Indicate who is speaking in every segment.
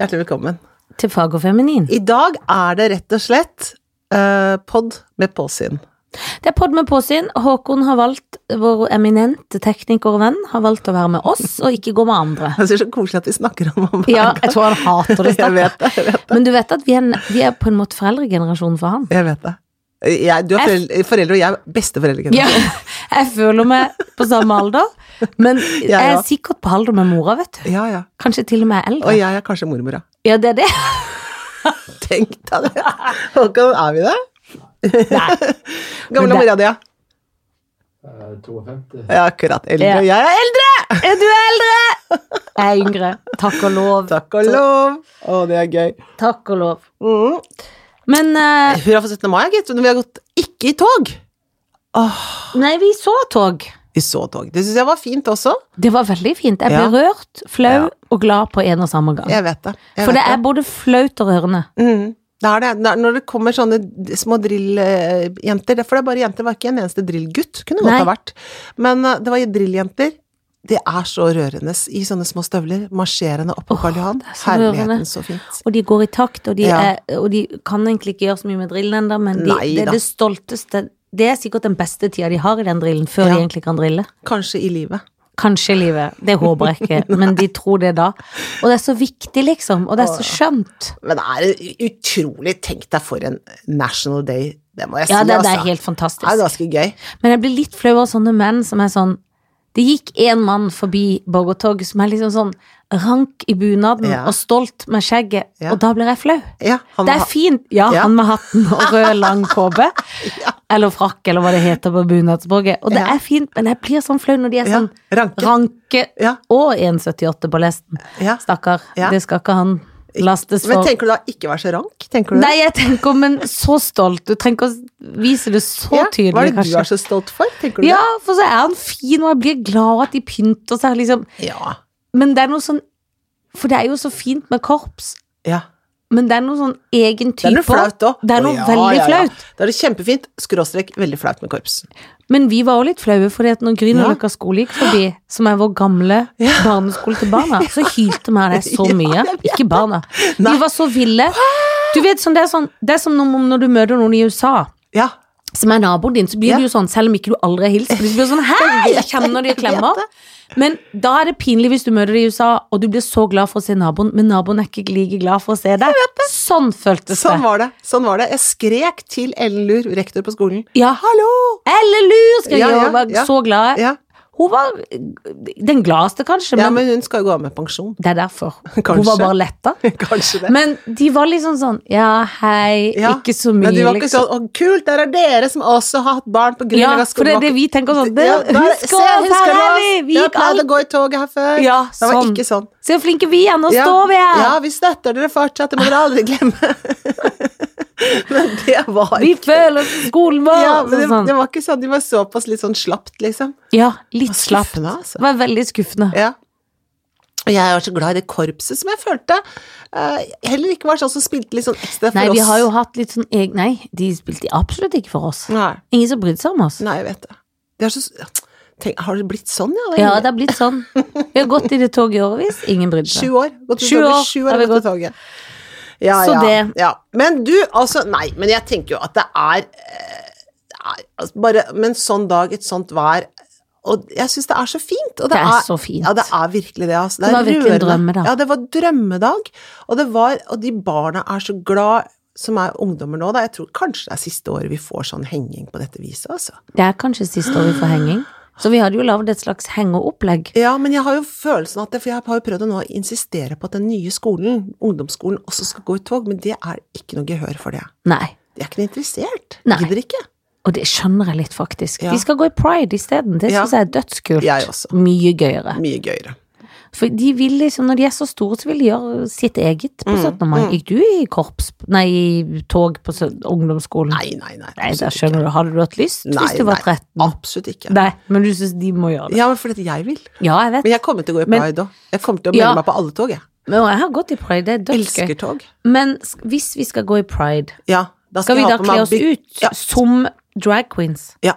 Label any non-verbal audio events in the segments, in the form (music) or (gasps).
Speaker 1: Hjertelig velkommen.
Speaker 2: Til Fag og Feminin.
Speaker 1: I dag er det rett og slett eh, pod med påsyn.
Speaker 2: Det er podd med påsyn. Håkon har valgt, vår eminente tekniker og venn, har valgt å være med oss og ikke gå med
Speaker 1: (laughs)
Speaker 2: andre.
Speaker 1: Jeg synes det er så koselig at vi snakker om ham hver
Speaker 2: Ja,
Speaker 1: gang.
Speaker 2: jeg tror han hater det.
Speaker 1: (laughs) Jeg vet
Speaker 2: stakkar.
Speaker 1: det, jeg vet det.
Speaker 2: Men du vet at vi er, en- vi er på en måte foreldregenerasjonen for
Speaker 1: (laughs)
Speaker 2: han.
Speaker 1: Jeg vet det. Jeg, du er foreldre, foreldre, og jeg er besteforeldre.
Speaker 2: Ja, (laughs) jeg føler meg på samme alder, men jeg
Speaker 1: (laughs) Ja, ja.
Speaker 2: er sikkert på alder med mora, vet du.
Speaker 1: ja, ja.
Speaker 2: Kanskje til og med
Speaker 1: Og
Speaker 2: eldre.
Speaker 1: jeg er kanskje mormora.
Speaker 2: Ja, det (laughs) er det.
Speaker 1: Tenk deg det! (laughs) Håkon, er vi det?
Speaker 2: Nei.
Speaker 1: (laughs)
Speaker 2: Men
Speaker 1: Gamle
Speaker 2: det-
Speaker 1: mora di, ja.
Speaker 3: Eh, 52.
Speaker 1: Ja, akkurat. Eldre.
Speaker 2: Ja.
Speaker 1: Jeg er eldre!
Speaker 2: Er du eldre? Jeg er yngre. Takk og lov.
Speaker 1: Takk og lov! Å, det er gøy.
Speaker 2: Takk og lov.
Speaker 1: Mm.
Speaker 2: Men eh,
Speaker 1: Hurra for 17. mai, gitt. Men vi har gått ikke i tog.
Speaker 2: Nei, vi så tog.
Speaker 1: Vi så tog. Det syns jeg var fint også.
Speaker 2: Det var veldig fint. Jeg ble
Speaker 1: Ja.
Speaker 2: rørt, flau
Speaker 1: Ja.
Speaker 2: og glad på en og samme gang.
Speaker 1: Jeg vet det. Jeg
Speaker 2: For
Speaker 1: vet
Speaker 2: det er både flaut og rørende.
Speaker 1: Mm. Det er det. Det er Når det kommer sånne d- små drilljenter For det er bare jenter, det var ikke en eneste drillgutt. Kunne godt
Speaker 2: Nei.
Speaker 1: ha vært. Men eh, det var drilljenter. Det er så rørende i sånne små støvler, marsjerende oppå
Speaker 2: Åh,
Speaker 1: Karl Johan.
Speaker 2: det er så rørende.
Speaker 1: Herligheten, så fint.
Speaker 2: Og de går i takt, og de,
Speaker 1: Ja.
Speaker 2: er, og de kan egentlig ikke gjøre så mye med drillen ennå, men de,
Speaker 1: Nei
Speaker 2: det
Speaker 1: da.
Speaker 2: er det stolteste Det er sikkert den beste tida de har i den drillen, før
Speaker 1: Ja.
Speaker 2: de egentlig kan drille.
Speaker 1: Kanskje i livet.
Speaker 2: Kanskje i livet. Det håper jeg
Speaker 1: (laughs)
Speaker 2: ikke, men de tror det da. Og det er så viktig, liksom. Og det er så skjønt.
Speaker 1: Men det er utrolig Tenk deg for en National Day. Det må jeg
Speaker 2: Ja,
Speaker 1: si,
Speaker 2: det, det
Speaker 1: altså.
Speaker 2: er helt
Speaker 1: det er
Speaker 2: fantastisk.
Speaker 1: ganske gøy.
Speaker 2: Men jeg blir litt flau av sånne menn som er sånn Det gikk en mann forbi Borgertog som er liksom sånn rank i bunaden
Speaker 1: Ja.
Speaker 2: og stolt med skjegget,
Speaker 1: Ja.
Speaker 2: og da blir jeg flau.
Speaker 1: Ja, han
Speaker 2: Det er
Speaker 1: har-
Speaker 2: fint. Ja,
Speaker 1: Ja.
Speaker 2: han med hatten
Speaker 1: (laughs)
Speaker 2: og rød, lang kåpe. Eller frakk, eller hva det heter på bunadsspråket. Og det
Speaker 1: Ja.
Speaker 2: er fint, men jeg blir sånn flau når de er
Speaker 1: ja,
Speaker 2: sånn
Speaker 1: ranke.
Speaker 2: ranke
Speaker 1: Ja,
Speaker 2: og 1,78 på lesten.
Speaker 1: ja.
Speaker 2: Stakkar.
Speaker 1: Ja.
Speaker 2: Det skal ikke han lastes
Speaker 1: Men
Speaker 2: for.
Speaker 1: tenker du da ikke være så rank? Tenker du det?
Speaker 2: Nei, jeg tenker, men så stolt. Du trenger ikke å vise det så
Speaker 1: Ja,
Speaker 2: tydelig,
Speaker 1: Hva er det
Speaker 2: kanskje.
Speaker 1: du er så stolt for? Tenker du
Speaker 2: Ja, for så er han fin, og jeg blir glad at de pynter seg, liksom.
Speaker 1: det? Ja.
Speaker 2: Men det er noe sånn For det er jo så fint med korps,
Speaker 1: ja.
Speaker 2: men det er noe sånn egen
Speaker 1: Det
Speaker 2: type
Speaker 1: er noe flaut òg.
Speaker 2: Det er noe veldig flaut.
Speaker 1: Da er det kjempefint, skråstrek, veldig flaut med korps.
Speaker 2: Men vi var jo litt flaue, fordi at når Grünerløkka skole gikk forbi, som er vår gamle
Speaker 1: Ja.
Speaker 2: barneskole til barna, så hylte vi av det
Speaker 1: (laughs)
Speaker 2: så
Speaker 1: Ja,
Speaker 2: mye. Ikke barna.
Speaker 1: Nei.
Speaker 2: De var så ville. Du vet, sånn, det, er sånn, det er som når når du møter noen i USA.
Speaker 1: Ja.
Speaker 2: som er naboen din, så blir
Speaker 1: Ja.
Speaker 2: du jo sånn, selv om ikke du aldri har hilst. for Du blir
Speaker 1: (laughs)
Speaker 2: sånn, hei, jeg kjenner de og klemmer. Men da er det pinlig hvis du møter de i USA, og du blir så glad for å se naboen, men naboen er ikke like glad for å se deg. Sånn føltes
Speaker 1: Sånn
Speaker 2: det.
Speaker 1: var det. Sånn var det. Jeg skrek til Ellen Lur, rektor på skolen.
Speaker 2: Ja.
Speaker 1: Hallo!
Speaker 2: Eller lur, skal jeg
Speaker 1: Ja,
Speaker 2: gjøre,
Speaker 1: ja,
Speaker 2: hun var
Speaker 1: ja.
Speaker 2: så glad.
Speaker 1: Ja,
Speaker 2: Hun var den gladeste, kanskje,
Speaker 1: ja
Speaker 2: men,
Speaker 1: men hun skal jo gå av med pensjon. (laughs)
Speaker 2: det er derfor. Hun
Speaker 1: Kanskje.
Speaker 2: var bare letta.
Speaker 1: (laughs) Kanskje det.
Speaker 2: Men de var liksom sånn, ja, hei,
Speaker 1: Ja,
Speaker 2: ikke så mye,
Speaker 1: Men de var ikke
Speaker 2: liksom.
Speaker 1: sånn 'Å, kult, der er dere som også har hatt barn på
Speaker 2: Ja,
Speaker 1: Grünerløkka
Speaker 2: for det er det vi tenker sånn. Det, husk oss, her er vi! Vi
Speaker 1: Jeg
Speaker 2: gikk
Speaker 1: pleide
Speaker 2: alt.
Speaker 1: å gå i toget her før.
Speaker 2: Ja,
Speaker 1: Det var
Speaker 2: sånn.
Speaker 1: ikke sånn.
Speaker 2: Se hvor flinke vi er, nå står vi her!
Speaker 1: Ja, vi støtter dere fortsatt, det må dere aldri glemme. (laughs) men det var
Speaker 2: Vi føler oss i skolen vår!
Speaker 1: ja, men det,
Speaker 2: sånn.
Speaker 1: det var ikke sånn, de var såpass litt sånn slappt, liksom.
Speaker 2: ja, litt slapt.
Speaker 1: Skuffende,
Speaker 2: Det
Speaker 1: altså.
Speaker 2: var veldig skuffende.
Speaker 1: Ja. Og jeg var så glad i det korpset som jeg følte eh, heller ikke var sånn som spilte litt sånn ekstra for
Speaker 2: Nei,
Speaker 1: oss.
Speaker 2: vi har jo hatt litt sånn egen Nei, de spilte absolutt ikke for oss.
Speaker 1: Nei,
Speaker 2: Ingen som brydde seg om oss.
Speaker 1: nei, jeg vet det. det er så, tenk, har det blitt sånn, ja?
Speaker 2: Ja, det har blitt sånn. Vi har gått i det toget i årevis, ingen brydde
Speaker 1: Sju
Speaker 2: seg.
Speaker 1: år. Gått i
Speaker 2: Sju
Speaker 1: toget,
Speaker 2: år
Speaker 1: sju
Speaker 2: har
Speaker 1: år
Speaker 2: vi
Speaker 1: har gått i toget. Ja,
Speaker 2: Så
Speaker 1: ja,
Speaker 2: det-
Speaker 1: ja. Men du, altså Nei, men jeg tenker jo at det er, eh, det er altså, Bare med en sånn dag, et sånt vær Og jeg syns det er så fint. Og det,
Speaker 2: Det er så fint.
Speaker 1: Ja, det er virkelig det, altså. Det,
Speaker 2: Det
Speaker 1: er
Speaker 2: var virkelig en
Speaker 1: rørende.
Speaker 2: drømmedag.
Speaker 1: Ja, det var drømmedag. Og det var Og de barna er så glad som er ungdommer nå, da. Jeg tror kanskje det er siste året vi får sånn henging på dette viset, altså.
Speaker 2: Det er kanskje siste år vi får henging. Så vi hadde jo lagd et slags hengeopplegg.
Speaker 1: Ja, men jeg har jo følelsen at det, for jeg har jo prøvd å nå insistere på at den nye skolen, ungdomsskolen, også skal gå i tog, men det er ikke noe gehør for det.
Speaker 2: Nei.
Speaker 1: De er ikke noe interessert.
Speaker 2: Nei.
Speaker 1: Gidder ikke.
Speaker 2: Og det skjønner jeg litt, faktisk.
Speaker 1: Ja.
Speaker 2: De skal gå i pride isteden. Det
Speaker 1: Ja.
Speaker 2: syns jeg er dødskult.
Speaker 1: Jeg også.
Speaker 2: Mye gøyere.
Speaker 1: Mye gøyere.
Speaker 2: For de vil liksom, når de er så store, så vil de gjøre sitt eget på
Speaker 1: Mm,
Speaker 2: 17. mai.
Speaker 1: mm.
Speaker 2: Gikk du i korps, nei, i tog på sø- ungdomsskolen?
Speaker 1: Nei, nei, nei.
Speaker 2: Nei, da
Speaker 1: absolutt
Speaker 2: skjønner du. Hadde du hatt lyst
Speaker 1: Nei,
Speaker 2: hvis du var
Speaker 1: nei.
Speaker 2: 13?
Speaker 1: ikke. Absolutt ikke.
Speaker 2: Nei, men du syns de må gjøre det?
Speaker 1: Ja, men fordi jeg vil.
Speaker 2: Ja, jeg vet.
Speaker 1: Men jeg kommer til å gå i
Speaker 2: Men-
Speaker 1: pride òg. Jeg kommer til å melde
Speaker 2: Ja.
Speaker 1: meg på alle tog, jeg.
Speaker 2: Men jeg har gått i pride, det er dødsgøy.
Speaker 1: Elsker tog.
Speaker 2: Men sk- hvis vi skal gå i pride,
Speaker 1: Ja, da
Speaker 2: skal
Speaker 1: jeg
Speaker 2: vi
Speaker 1: ha
Speaker 2: da
Speaker 1: på
Speaker 2: kle
Speaker 1: meg
Speaker 2: oss
Speaker 1: big-
Speaker 2: ut
Speaker 1: Ja.
Speaker 2: som drag queens?
Speaker 1: Ja.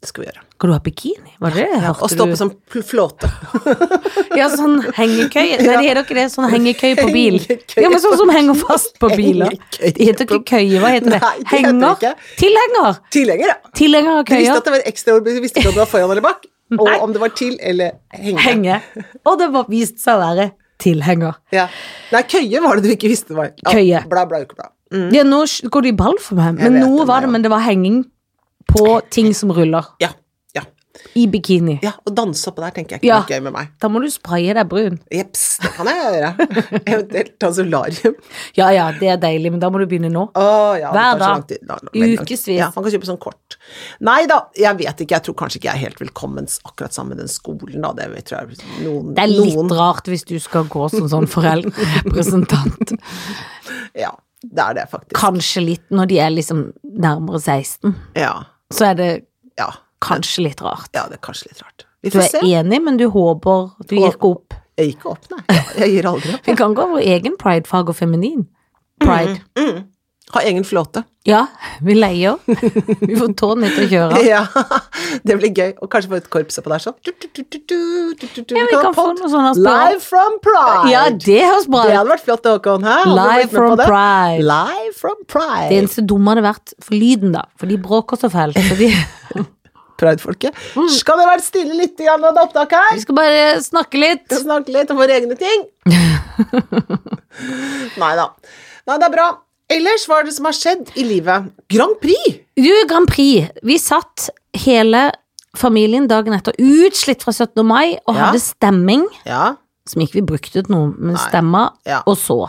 Speaker 1: Det skal vi gjøre.
Speaker 2: Skal du ha bikini? Var det det?
Speaker 1: Ja, og
Speaker 2: Hørte
Speaker 1: stå
Speaker 2: du-
Speaker 1: på sånn pl- flåte.
Speaker 2: Ja, sånn
Speaker 1: (laughs)
Speaker 2: hengekøye. Nei, det heter ikke det. Sånn hengekøye på bil.
Speaker 1: Hengekøye.
Speaker 2: Ja, men sånn som henger fast på biler.
Speaker 1: Hengekøye
Speaker 2: Det heter ikke
Speaker 1: på-
Speaker 2: køye, hva heter det?
Speaker 1: Nei, det heter
Speaker 2: Henger?
Speaker 1: det ikke.
Speaker 2: Tilhenger!
Speaker 1: Tilhenger, ja.
Speaker 2: Tilhenger av
Speaker 1: Du visste
Speaker 2: køyer.
Speaker 1: at det var et ekstra ord, men du visste ikke om det var foran eller
Speaker 2: (laughs)
Speaker 1: bak. Og om det var til eller henge.
Speaker 2: Henge. Og det var vist seg å være tilhenger.
Speaker 1: Ja. Nei, køye var det du ikke visste det var. Ja,
Speaker 2: Køye.
Speaker 1: Bla, bla, ukebla. Mm.
Speaker 2: Ja, nå sk- går det i ball for meg,
Speaker 1: Jeg
Speaker 2: men
Speaker 1: vet
Speaker 2: noe
Speaker 1: det,
Speaker 2: var
Speaker 1: det,
Speaker 2: det,
Speaker 1: ja.
Speaker 2: men det var henging på ting som ruller.
Speaker 1: Ja. Ja.
Speaker 2: I bikini.
Speaker 1: ja. Å danse oppå der tenker jeg ikke
Speaker 2: Ja.
Speaker 1: er gøy med meg.
Speaker 2: Da må du spraye deg brun.
Speaker 1: Jeps, det kan jeg gjøre. (laughs) Eventuelt ta solarium.
Speaker 2: Ja ja, det er deilig, men da må du begynne nå.
Speaker 1: Å, ja, det
Speaker 2: Hver
Speaker 1: tar så
Speaker 2: dag.
Speaker 1: lang tid. Da- veldig lang tid.
Speaker 2: Ukevis.
Speaker 1: Ja, man kan kjøpe sånn kort. Nei da, jeg vet ikke. Jeg tror kanskje ikke jeg er helt velkommen akkurat sammen med den skolen, da. Det tror jeg noen,
Speaker 2: Det er litt
Speaker 1: noen
Speaker 2: rart hvis du skal gå som sånn (laughs) foreldrerepresentant.
Speaker 1: Ja, det er det faktisk.
Speaker 2: Kanskje litt når de er liksom nærmere 16.
Speaker 1: Ja.
Speaker 2: Så er det
Speaker 1: Ja.
Speaker 2: kanskje litt rart.
Speaker 1: ja, det er kanskje litt rart. Vi
Speaker 2: Du
Speaker 1: får
Speaker 2: er
Speaker 1: se.
Speaker 2: enig, men du håper Du gir ikke opp.
Speaker 1: Jeg gikk opp, nei. Ja, Jeg gir aldri opp.
Speaker 2: Vi kan gå vår egen pridefag og feminin. Pride.
Speaker 1: Mm. Ha egen flåte.
Speaker 2: Ja, vi leier. Vi får tårnet til å kjøre.
Speaker 1: (laughs) Ja, det blir gøy. Og kanskje få et korps oppå der sånn. Du, du, du, du, du, du, du, du.
Speaker 2: Ja, vi
Speaker 1: ha
Speaker 2: kan få
Speaker 1: pod.
Speaker 2: noe sånn aspirant.
Speaker 1: Live from pride!
Speaker 2: Ja, det høres bra
Speaker 1: Det
Speaker 2: ut.
Speaker 1: hadde vært flott, Håkon. Hæ? Hadde du
Speaker 2: Live
Speaker 1: blitt med
Speaker 2: from
Speaker 1: på det?
Speaker 2: pride.
Speaker 1: Live from
Speaker 2: Det
Speaker 1: pride.
Speaker 2: eneste dumme hadde vært for lyden, da. For de bråker så fælt. Så de,
Speaker 1: (laughs) Pride-folket.
Speaker 2: Mm.
Speaker 1: Skal dere være stille litt grann under opptak
Speaker 2: vi
Speaker 1: her?
Speaker 2: skal bare snakke litt.
Speaker 1: Vi skal snakke litt om våre egne ting.
Speaker 2: (laughs)
Speaker 1: Nei da. Nei, det er bra. Ellers, hva er det som har skjedd i livet? Grand Prix!
Speaker 2: Du, Grand Prix. Vi satt hele familien dagen etter utslitt fra 17. mai og
Speaker 1: Ja.
Speaker 2: hadde stemming.
Speaker 1: Ja.
Speaker 2: Som ikke vi brukte ut noe, men
Speaker 1: Nei.
Speaker 2: stemma.
Speaker 1: Ja.
Speaker 2: Og så.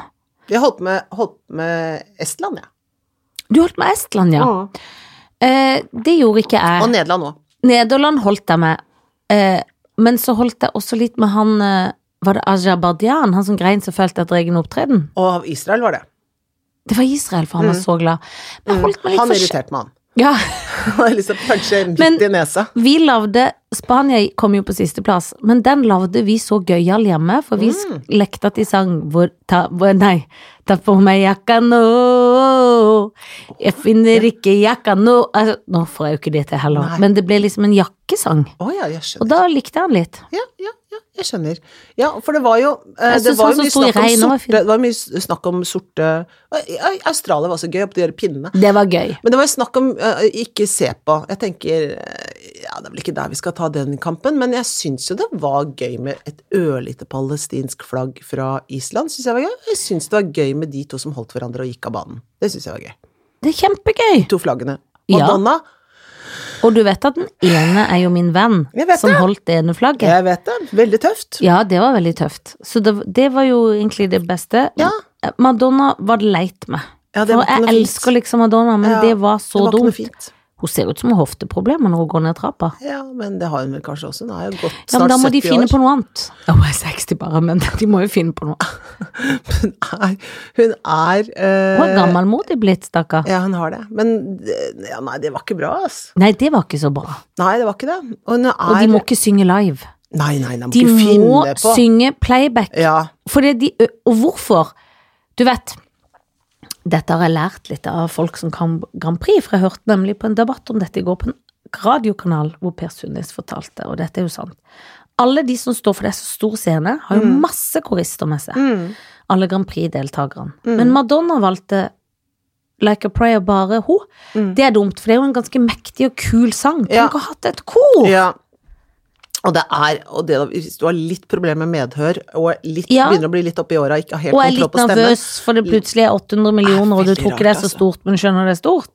Speaker 1: Jeg holdt med, holdt med Estland, jeg.
Speaker 2: Du holdt med Estland, ja.
Speaker 1: Ja.
Speaker 2: Eh, det gjorde ikke jeg.
Speaker 1: Og Nederland òg.
Speaker 2: Nederland holdt jeg med. Eh, men så holdt jeg også litt med han eh, Var det Azerbaijan? Han som grein så fælt etter egen opptreden?
Speaker 1: Og Israel var det.
Speaker 2: Det var Israel, for han var så glad. Men jeg holdt meg litt
Speaker 1: Mm. Han
Speaker 2: for...
Speaker 1: irriterte meg, han.
Speaker 2: Ja. (laughs)
Speaker 1: (laughs) Han har lyst til å punche
Speaker 2: Men-
Speaker 1: midt i nesa.
Speaker 2: Vi lagde Spania kom jo på sisteplass, men den lagde vi så gøyal hjemme, for vi
Speaker 1: Mm.
Speaker 2: sk- lekte at de sang hvor, ta, hvor, Nei, ta på meg jakka nå, jeg finner ikke jakka nå altså, Nå får jeg jo ikke det til heller,
Speaker 1: Nei.
Speaker 2: men det ble liksom en jakkesang.
Speaker 1: Å ja, jeg
Speaker 2: Og
Speaker 1: skjønner.
Speaker 2: da likte jeg den litt.
Speaker 1: Ja, ja, ja, jeg skjønner. Ja, for det var jo eh, Det
Speaker 2: Jeg synes
Speaker 1: var
Speaker 2: han
Speaker 1: jo
Speaker 2: som
Speaker 1: mye
Speaker 2: sto i
Speaker 1: snakk om
Speaker 2: regnet var fin.
Speaker 1: sorte Det var mye s- snakk om sorte Ø- Ø- Australia var så gøy, på de der pinnene.
Speaker 2: Det var gøy.
Speaker 1: Men det var jo snakk om eh, ikke se på. Jeg tenker eh, Ja, det er vel ikke der vi skal ta den kampen, men jeg syns jo det var gøy med et ørlite palestinsk flagg fra Island. Synes jeg var gøy. Jeg syns det var gøy med de to som holdt hverandre og gikk av banen. Det syns jeg var gøy.
Speaker 2: Det er kjempegøy.
Speaker 1: To flaggene.
Speaker 2: Ja.
Speaker 1: Madonna,
Speaker 2: Og du vet at den ene er jo min venn,
Speaker 1: Jeg vet
Speaker 2: som
Speaker 1: det.
Speaker 2: holdt det ene flagget.
Speaker 1: jeg vet det. Veldig tøft.
Speaker 2: Ja, det var veldig tøft. Så det, det var jo egentlig det beste.
Speaker 1: Ja.
Speaker 2: Madonna var det leit med.
Speaker 1: Ja, det
Speaker 2: For
Speaker 1: var ikke
Speaker 2: jeg
Speaker 1: noe fint.
Speaker 2: elsker liksom Madonna, men
Speaker 1: Ja,
Speaker 2: det var så
Speaker 1: det var ikke noe
Speaker 2: dumt.
Speaker 1: fint.
Speaker 2: Hun ser ut som hun har hofteproblemer når hun går ned trappa.
Speaker 1: Ja, men det har hun vel kanskje også. Hun er jo godt
Speaker 2: Ja,
Speaker 1: snart
Speaker 2: men da må
Speaker 1: 70
Speaker 2: de finne
Speaker 1: år.
Speaker 2: på noe annet. Ja, hun er 60 bare, men (laughs) de må jo finne på noe.
Speaker 1: (laughs) Hun er, hun er eh,
Speaker 2: Hun er gammelmodig blitt, stakkar.
Speaker 1: Ja, hun har det. Men eh, ja, nei, det var ikke bra, altså.
Speaker 2: Nei, det var ikke så bra.
Speaker 1: Nei, det var ikke det. Og hun er
Speaker 2: Og de må ikke synge live.
Speaker 1: Nei, nei, nei, må
Speaker 2: De
Speaker 1: ikke
Speaker 2: må
Speaker 1: finne på.
Speaker 2: synge playback.
Speaker 1: Ja,
Speaker 2: For det de, og hvorfor? Du vet, dette har jeg lært litt av folk som kan Grand Prix, for jeg hørte nemlig på en debatt om dette i går på en radiokanal hvor Per Sundnes fortalte, og dette er jo sant. Alle de som står for det er så stor scene, har
Speaker 1: Mm.
Speaker 2: jo masse korister med seg. Alle Grand Prix-deltakerne.
Speaker 1: Mm.
Speaker 2: Men Madonna valgte Like a Prayer bare hun. Det er dumt, for det er jo en ganske mektig og kul sang.
Speaker 1: Mm. Ja.
Speaker 2: Tenk å ha hatt et kor!
Speaker 1: ja. Og det er, og det, hvis du har litt problemer med medhør, og litt,
Speaker 2: Ja.
Speaker 1: begynner å bli litt oppi åra, ikke har helt
Speaker 2: Og er
Speaker 1: kontroll
Speaker 2: litt
Speaker 1: på stemmen
Speaker 2: nervøs, for det plutselig er 800 millioner, og du
Speaker 1: veldig
Speaker 2: tror ikke det er
Speaker 1: rart,
Speaker 2: så
Speaker 1: altså.
Speaker 2: stort, men skjønner det er stort.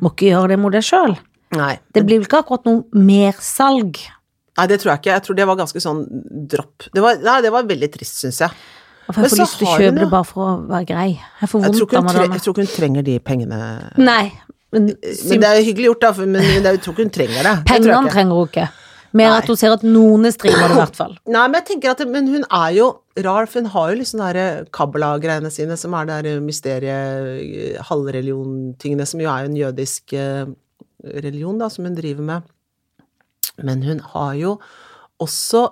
Speaker 2: Må ikke gjøre det mot deg sjøl.
Speaker 1: Mm. Nei.
Speaker 2: Det blir vel ikke akkurat noe mersalg.
Speaker 1: nei, det tror jeg ikke. Jeg tror det var ganske sånn dropp. Det var, nei, det var veldig trist, syns jeg.
Speaker 2: For
Speaker 1: Men
Speaker 2: jeg får
Speaker 1: så
Speaker 2: lyst til å
Speaker 1: har hun
Speaker 2: kjøpe
Speaker 1: jo-
Speaker 2: det bare for å være grei. Jeg får
Speaker 1: Jeg tror ikke
Speaker 2: vondt
Speaker 1: hun, tre,
Speaker 2: av Madonna.
Speaker 1: jeg tror ikke hun trenger de pengene.
Speaker 2: Nei, men,
Speaker 1: Men det er jo hyggelig gjort, da, for, men men jeg tror ikke hun trenger det. det. tror jeg
Speaker 2: pengene
Speaker 1: ikke.
Speaker 2: trenger hun ikke. Mer at hun ser at noen streamer det, i
Speaker 1: (laughs)
Speaker 2: hvert fall.
Speaker 1: Nei, men jeg tenker at det, Men hun er jo rar, for hun har jo liksom de der kabbala-greiene sine, som er det der mysteriet, halvreligion-tingene, som jo er en jødisk eh, religion, da, som hun driver med. Men hun har jo også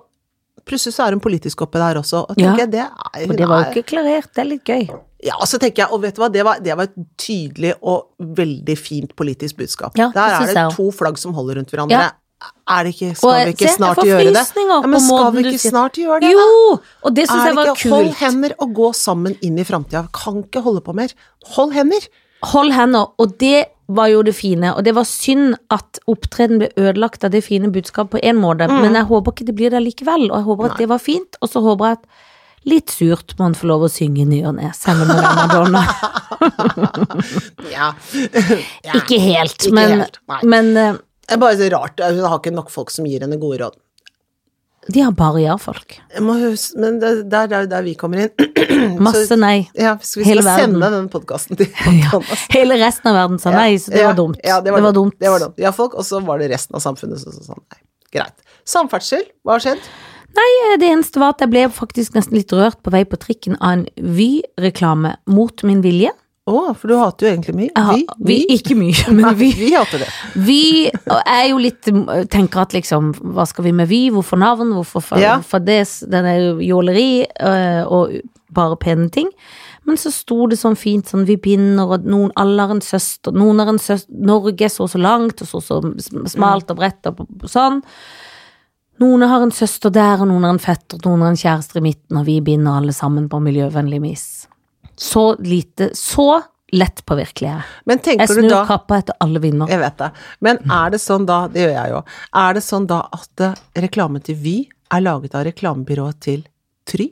Speaker 1: Plutselig så er hun politisk oppe der også. Og
Speaker 2: Ja.
Speaker 1: tenker jeg, det er,
Speaker 2: Og
Speaker 1: hun
Speaker 2: det var
Speaker 1: er-
Speaker 2: jo ikke klarert, det er litt gøy.
Speaker 1: ja, og så tenker jeg, og vet du hva, det var, det var et tydelig og veldig fint politisk budskap.
Speaker 2: Ja, det
Speaker 1: Der
Speaker 2: synes
Speaker 1: er
Speaker 2: jeg
Speaker 1: det
Speaker 2: også.
Speaker 1: to flagg som holder rundt hverandre.
Speaker 2: Ja.
Speaker 1: Er det ikke, skal
Speaker 2: Og
Speaker 1: vi ikke
Speaker 2: se, jeg
Speaker 1: snart
Speaker 2: får
Speaker 1: gjøre det?
Speaker 2: frysninger
Speaker 1: Ja, men
Speaker 2: på
Speaker 1: skal vi
Speaker 2: måten du
Speaker 1: ikke
Speaker 2: sier-
Speaker 1: snart gjøre det? da?
Speaker 2: Jo! Og det syns
Speaker 1: Er
Speaker 2: jeg
Speaker 1: det
Speaker 2: var
Speaker 1: ikke hold
Speaker 2: kult.
Speaker 1: hender og gå sammen inn i framtida? Kan ikke holde på mer. Hold hender!
Speaker 2: Hold hender. Og det var jo det fine. Og det var synd at opptredenen ble ødelagt av det fine budskapet på én måte,
Speaker 1: Mm.
Speaker 2: men jeg håper ikke det blir det likevel. Og jeg håper at det var fint, og så håper jeg at litt surt må en få lov å synge i ny og ne, selv om det er Madonna.
Speaker 1: (laughs) Ja. Ja.
Speaker 2: (laughs) Ikke helt,
Speaker 1: Ikke
Speaker 2: men,
Speaker 1: helt, nei.
Speaker 2: men eh,
Speaker 1: Det er bare så rart, hun har ikke nok folk som gir henne gode råd.
Speaker 2: de har bare ja-folk.
Speaker 1: Jeg må hus- men det det er der, der vi kommer inn. (clears throat)
Speaker 2: Masse nei.
Speaker 1: Ja, så vi
Speaker 2: Hele
Speaker 1: skal
Speaker 2: verden.
Speaker 1: sende den podkasten til
Speaker 2: (laughs) Ja.
Speaker 1: Johannes.
Speaker 2: Hele resten av verden sa nei, så det
Speaker 1: Ja,
Speaker 2: var dumt.
Speaker 1: Ja, det var, dumt.
Speaker 2: dumt.
Speaker 1: Det var dumt. Ja, folk, og så var det resten av samfunnet som sa sånn, nei, greit. Samferdsel, hva har skjedd?
Speaker 2: Eh, Det eneste var at jeg ble faktisk nesten litt rørt på vei på trikken av en Vy-reklame mot min vilje.
Speaker 1: Å, for du hater jo egentlig mye.
Speaker 2: Jeg har-
Speaker 1: Vi, vi,
Speaker 2: Ikke mye, men
Speaker 1: Nei,
Speaker 2: Vy. (laughs)
Speaker 1: vi hater det.
Speaker 2: Vi er jo litt Tenker at liksom, hva skal vi med vi? Hvorfor navn? Hvorfor for,
Speaker 1: Ja.
Speaker 2: for det? Den er jo jåleri øh, og bare pene ting. Men så sto det sånn fint sånn vi binder, og noen alle har en søster, noen har en søster Norge er så og så langt, og så og så sm- smalt og bredt og p- sånn. Noen har en søster der, og noen har en fetter, og noen har en kjæreste i midten, og vi binder alle sammen på miljøvennlig vis. Så lite, så lett påvirkelig er jeg.
Speaker 1: Men
Speaker 2: Jeg
Speaker 1: tenker du
Speaker 2: snur
Speaker 1: da
Speaker 2: kappa etter alle vinder.
Speaker 1: Jeg vet det. Men er det sånn da, det gjør jeg jo, er det sånn da at eh, reklame til Vy er laget av reklamebyrået til Try?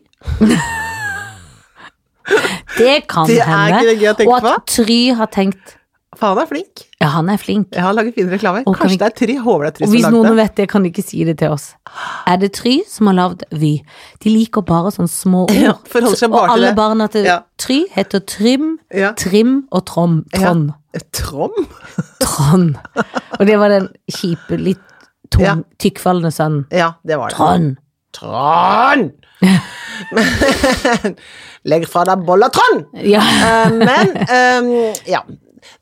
Speaker 2: Det kan
Speaker 1: Det er
Speaker 2: hende.
Speaker 1: ikke det gøy å tenke
Speaker 2: og at Try har tenkt
Speaker 1: Faen, han er flink.
Speaker 2: ja, han er flink.
Speaker 1: Jeg har laget fine reklamer.
Speaker 2: Og kan
Speaker 1: Kanskje
Speaker 2: vi-
Speaker 1: det er Try. Håper det er Try
Speaker 2: Og hvis
Speaker 1: som
Speaker 2: noen
Speaker 1: lagde det.
Speaker 2: vet det, kan de ikke si det til oss. Er det Try som har lagd Vy? De liker bare sånne
Speaker 1: (laughs)
Speaker 2: små ord.
Speaker 1: Ja, forholder seg bare
Speaker 2: og
Speaker 1: til
Speaker 2: alle
Speaker 1: det.
Speaker 2: barna til
Speaker 1: Ja.
Speaker 2: Try heter Trym,
Speaker 1: Ja. Eh,
Speaker 2: Trim og Trom. Trond.
Speaker 1: Trom? (laughs)
Speaker 2: Trond. Og det var den kjipe, litt tung,
Speaker 1: Ja.
Speaker 2: tykkfallende sønnen.
Speaker 1: Ja, det var det.
Speaker 2: Trond.
Speaker 1: Trond! Men- Legg fra deg bolla, Trond!
Speaker 2: Ja.
Speaker 1: Eh, men eh, ja.